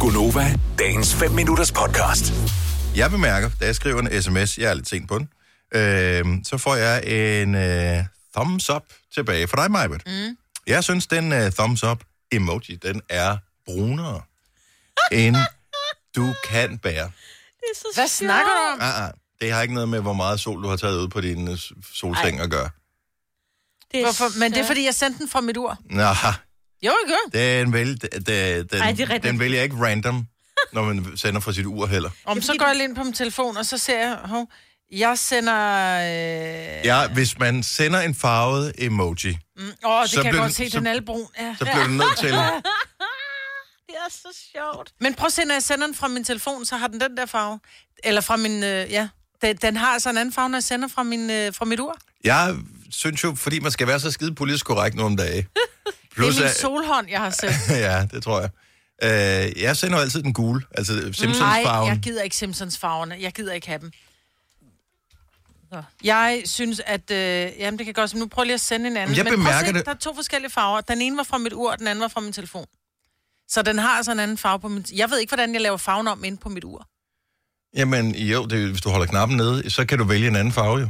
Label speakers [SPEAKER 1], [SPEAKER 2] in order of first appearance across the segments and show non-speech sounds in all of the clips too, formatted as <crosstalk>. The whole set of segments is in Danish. [SPEAKER 1] Gunova, dagens 5 minutters podcast.
[SPEAKER 2] Jeg bemærker, da jeg skriver en sms, jeg er lidt sent på den, øh, så får jeg en øh, thumbs up tilbage fra dig, Majbet. Mm. Jeg synes, den øh, thumbs up emoji, den er brunere, end du kan bære.
[SPEAKER 3] Det er så
[SPEAKER 4] Hvad
[SPEAKER 3] sjovt.
[SPEAKER 4] snakker du om?
[SPEAKER 2] Ah, ah, det har ikke noget med, hvor meget sol du har taget ud på din øh, solseng at gøre.
[SPEAKER 3] Det er
[SPEAKER 4] Hvorfor? Men det er
[SPEAKER 3] så-
[SPEAKER 4] fordi, jeg sendte den fra mit ur.
[SPEAKER 2] Nå,
[SPEAKER 4] Jo, jeg gør.
[SPEAKER 2] den, vælger, den, den,
[SPEAKER 3] Ej, det er rigtigt.
[SPEAKER 2] den vælger ikke random, når man sender fra sit ur heller.
[SPEAKER 4] Om så
[SPEAKER 3] fordi,
[SPEAKER 4] går
[SPEAKER 3] du-
[SPEAKER 4] jeg lige ind på min telefon, og så ser jeg, hov, jeg sender... Øh,
[SPEAKER 2] Ja, hvis man sender en farvet emoji,
[SPEAKER 4] åh, det
[SPEAKER 2] Så
[SPEAKER 4] så kan
[SPEAKER 2] blev
[SPEAKER 4] jeg godt
[SPEAKER 2] den-
[SPEAKER 4] se,
[SPEAKER 2] så-
[SPEAKER 4] den er albrun. Ja.
[SPEAKER 2] så bliver du nødt til...
[SPEAKER 3] Det er så sjovt.
[SPEAKER 4] Men prøv at se, når jeg sender den fra min telefon, så har den den der farve. Eller fra min, øh, ja. Den, den har altså en anden farve, når jeg sender fra, min, øh, fra mit ur.
[SPEAKER 2] Jeg synes jo, fordi man skal være så skide politisk korrekt nogle
[SPEAKER 4] <laughs>
[SPEAKER 2] dage.
[SPEAKER 4] Det er min
[SPEAKER 2] at-
[SPEAKER 4] solhånd, jeg har sendt.
[SPEAKER 2] <laughs> ja, det tror jeg. Øh, jeg sender jo altid den gule, altså
[SPEAKER 4] Nej, jeg
[SPEAKER 2] Simpsons-farven.
[SPEAKER 4] gider ikke Simpsons farverne. Jeg gider ikke have dem. Nå. Jeg synes, at... Øh, jamen, det kan godt... Nu prøv lige at sende en anden.
[SPEAKER 2] Men jeg
[SPEAKER 4] prøv at
[SPEAKER 2] bemærker
[SPEAKER 4] se,
[SPEAKER 2] det.
[SPEAKER 4] Der er to forskellige farver. Den ene var fra mit ur, den anden var fra min telefon. Så den har altså en anden farve på min... Jeg ved ikke, hvordan jeg laver farven om inde på mit ur.
[SPEAKER 2] Jamen jo, det, hvis du holder knappen nede, så kan du vælge en anden farve jo.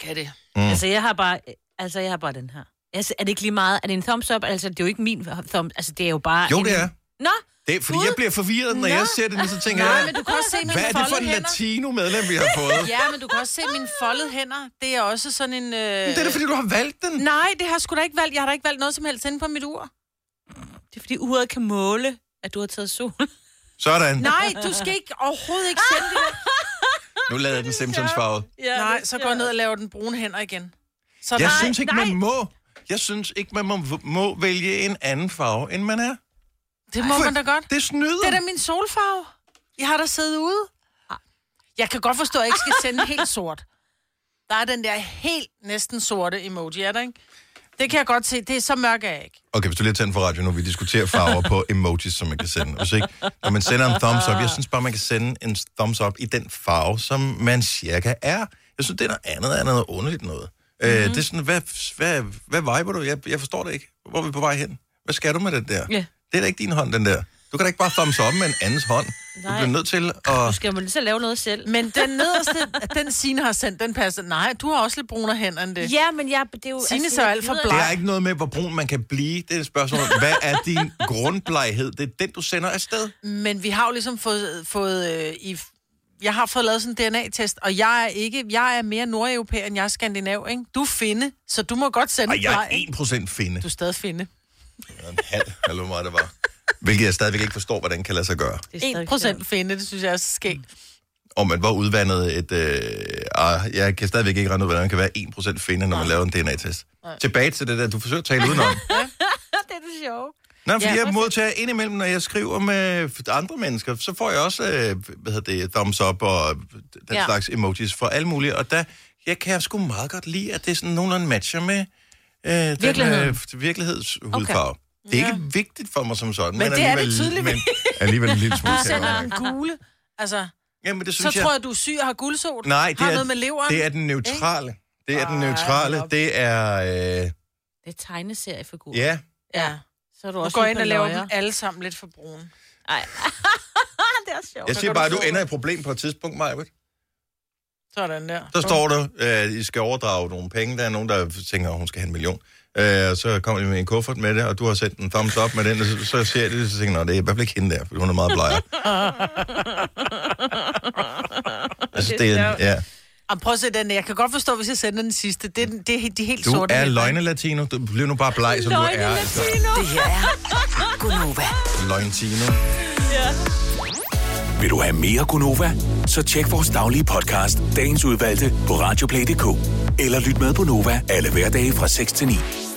[SPEAKER 4] Kan det?
[SPEAKER 2] Mm.
[SPEAKER 3] Altså, jeg har bare, altså, jeg har bare den her. Altså, er det ikke lige meget? Er det en thumbs up? Altså, det er jo ikke min thumbs. Altså, det er jo bare...
[SPEAKER 2] Jo,
[SPEAKER 3] en...
[SPEAKER 2] det er.
[SPEAKER 3] Nå,
[SPEAKER 2] Det er, fordi
[SPEAKER 3] Gud.
[SPEAKER 2] jeg bliver forvirret, når
[SPEAKER 4] Nå.
[SPEAKER 2] jeg ser den, så tænker
[SPEAKER 4] Nej,
[SPEAKER 2] jeg,
[SPEAKER 4] men du kan også se, når
[SPEAKER 2] hvad er
[SPEAKER 4] mine
[SPEAKER 2] det for en
[SPEAKER 4] foldede hænder...
[SPEAKER 2] latino-medlem,
[SPEAKER 4] <laughs>
[SPEAKER 2] vi har fået?
[SPEAKER 4] Ja, men du kan også se mine foldede hænder. Det er også sådan en... Øh...
[SPEAKER 2] Det er da, fordi du har valgt den.
[SPEAKER 4] Nej, det har jeg sgu da ikke valgt. Jeg har da ikke valgt noget som helst inde på mit ur.
[SPEAKER 3] det er fordi uret kan måle, at du har taget sol.
[SPEAKER 2] Sådan.
[SPEAKER 4] Nej, du skal ikke overhovedet ikke sende det.
[SPEAKER 2] Nu lader jeg den Simpsons-farvet.
[SPEAKER 3] <laughs> ja,
[SPEAKER 4] Nej, så går jeg ned og laver den brune hænder igen. Så
[SPEAKER 2] Jeg
[SPEAKER 4] nej,
[SPEAKER 2] synes ikke,
[SPEAKER 4] nej,
[SPEAKER 2] man må. Jeg synes ikke, man må, må vælge en anden farve, end man er.
[SPEAKER 4] det må man da godt.
[SPEAKER 2] Det snyder.
[SPEAKER 4] Det er da min solfarve. Jeg har da siddet ude. Ah. Jeg kan godt forstå, at jeg ikke skal sende helt sort. Der er den der helt næsten sorte emoji, er der ikke? Det kan jeg godt se. Det er så mørk er jeg ikke.
[SPEAKER 2] Okay, hvis du lige har tændt for radio nu, vi diskuterer farver på emojis, som man kan sende. Hvis ikke, når man sender en thumbs up, jeg synes bare, man kan sende en thumbs up i den farve, som man cirka er. Jeg synes, det er noget andet, er noget underligt noget. Mm-hmm. Øh, det er sådan, hvad, hvad, hvad viber du? Jeg, jeg forstår det ikke. Hvor er vi på vej hen? Hvad skal du med den der?
[SPEAKER 3] Ja.
[SPEAKER 2] Det er da ikke din hånd, den der. Du kan da ikke bare thumbs up med en andens hånd. Nej. Du
[SPEAKER 3] Nej.
[SPEAKER 2] bliver nødt til at...
[SPEAKER 3] Skal man så lave noget selv?
[SPEAKER 4] Men den nederste, den Signe har sendt, den passer. Nej, du har også lidt brunere hænder end det.
[SPEAKER 3] Ja, men jeg, det er jo...
[SPEAKER 4] Signe ser
[SPEAKER 3] jeg
[SPEAKER 4] alt for
[SPEAKER 3] gider-
[SPEAKER 4] bleg.
[SPEAKER 2] Det er ikke noget med, hvor brun man kan blive. Det er et spørgsmål. om, Hvad er din grundbleghed? Det er den, du sender afsted.
[SPEAKER 4] Men vi har jo ligesom fået, fået øh, i, jeg har fået lavet sådan en DNA-test, og jeg er ikke, jeg er mere nordeuropæer, end jeg er skandinav, ikke? Du er finde, så du må godt sende
[SPEAKER 2] Og jeg
[SPEAKER 4] mig, ikke?
[SPEAKER 2] er 1% finde.
[SPEAKER 4] Du er stadig finde.
[SPEAKER 2] En halv, eller hvor meget det var. Hvilket jeg stadigvæk ikke forstår, hvordan kan lade sig gøre.
[SPEAKER 3] Det er stadig
[SPEAKER 4] 1 procent finde, det synes jeg er så skægt.
[SPEAKER 2] Og man var udvandet et... Øh, ah, jeg kan stadigvæk ikke regne ud, hvordan man kan være 1% finde, når man laver en DNA-test. Tilbage til det der, du forsøger at tale udenom.
[SPEAKER 3] sjovt. det er det sjove.
[SPEAKER 2] Nej, fordi
[SPEAKER 4] Ja.
[SPEAKER 2] jeg modtager indimellem, når jeg skriver med andre mennesker, så får jeg også, øh, hvad hedder det, thumbs up og den ja.
[SPEAKER 3] Ja.
[SPEAKER 2] slags emojis fra alle mulige. Og der, jeg kan sgu meget godt lide, at det er sådan nogenlunde matcher med øh,
[SPEAKER 3] Virkeligheden.
[SPEAKER 2] den øh, virkelighedshudfarve. Okay. Det er ikke vigtigt for mig som sådan.
[SPEAKER 4] Men det er det
[SPEAKER 2] alligevel-
[SPEAKER 4] tydeligvis.
[SPEAKER 2] Men alligevel en lille
[SPEAKER 4] <laughs>
[SPEAKER 2] smule.
[SPEAKER 4] Du
[SPEAKER 2] kan jeg
[SPEAKER 4] sender
[SPEAKER 2] mærke.
[SPEAKER 4] en gule, altså,
[SPEAKER 2] Jamen, det
[SPEAKER 4] så
[SPEAKER 2] synes jeg...
[SPEAKER 4] tror jeg, du er syg og har guldsol.
[SPEAKER 2] Nej, det
[SPEAKER 4] har
[SPEAKER 2] er,
[SPEAKER 4] noget med leveren.
[SPEAKER 2] det er den neutrale. Det er den
[SPEAKER 4] Ej,
[SPEAKER 2] neutrale.
[SPEAKER 4] hold op.
[SPEAKER 2] Det er... Øh,
[SPEAKER 3] Det er tegneseriefigur.
[SPEAKER 2] ja.
[SPEAKER 4] Ja.
[SPEAKER 3] Så er du
[SPEAKER 4] Du
[SPEAKER 3] også
[SPEAKER 4] går
[SPEAKER 3] lidt
[SPEAKER 4] ind
[SPEAKER 3] på
[SPEAKER 4] og laver
[SPEAKER 3] løjer.
[SPEAKER 4] dem alle sammen lidt for brune.
[SPEAKER 3] Nej. <laughs> det er sjovt.
[SPEAKER 2] Jeg siger bare, at du ender i et problem på et tidspunkt, Maja.
[SPEAKER 4] Sådan der.
[SPEAKER 2] Så står der, at I skal overdrage nogle penge. Der er nogen, der tænker, at hun skal have en million. Øh, og så kommer de med en kuffert med det, og du har sendt en thumbs up med den, og så, så ser jeg det, og så tænker jeg, "Nå, det er i hvert fald ikke hende der, for hun er meget bleg. altså, det er, ja.
[SPEAKER 4] <laughs> Jamen, prøv at se den. Jeg kan godt forstå, hvis jeg sender den sidste. Det er, den- det er de helt
[SPEAKER 2] Du
[SPEAKER 4] sorte.
[SPEAKER 2] er
[SPEAKER 4] hænder.
[SPEAKER 2] løgne-latino. Du bliver nu bare bleg, som du er. Altså.
[SPEAKER 1] Det her er
[SPEAKER 3] <laughs>
[SPEAKER 1] Gunova.
[SPEAKER 2] Løgn-tino.
[SPEAKER 1] Vil du have mere Gunova? Så tjek vores daglige podcast, dagens udvalgte, på radioplay.dk. Eller lyt med på Nova alle hverdage fra 6 til 9.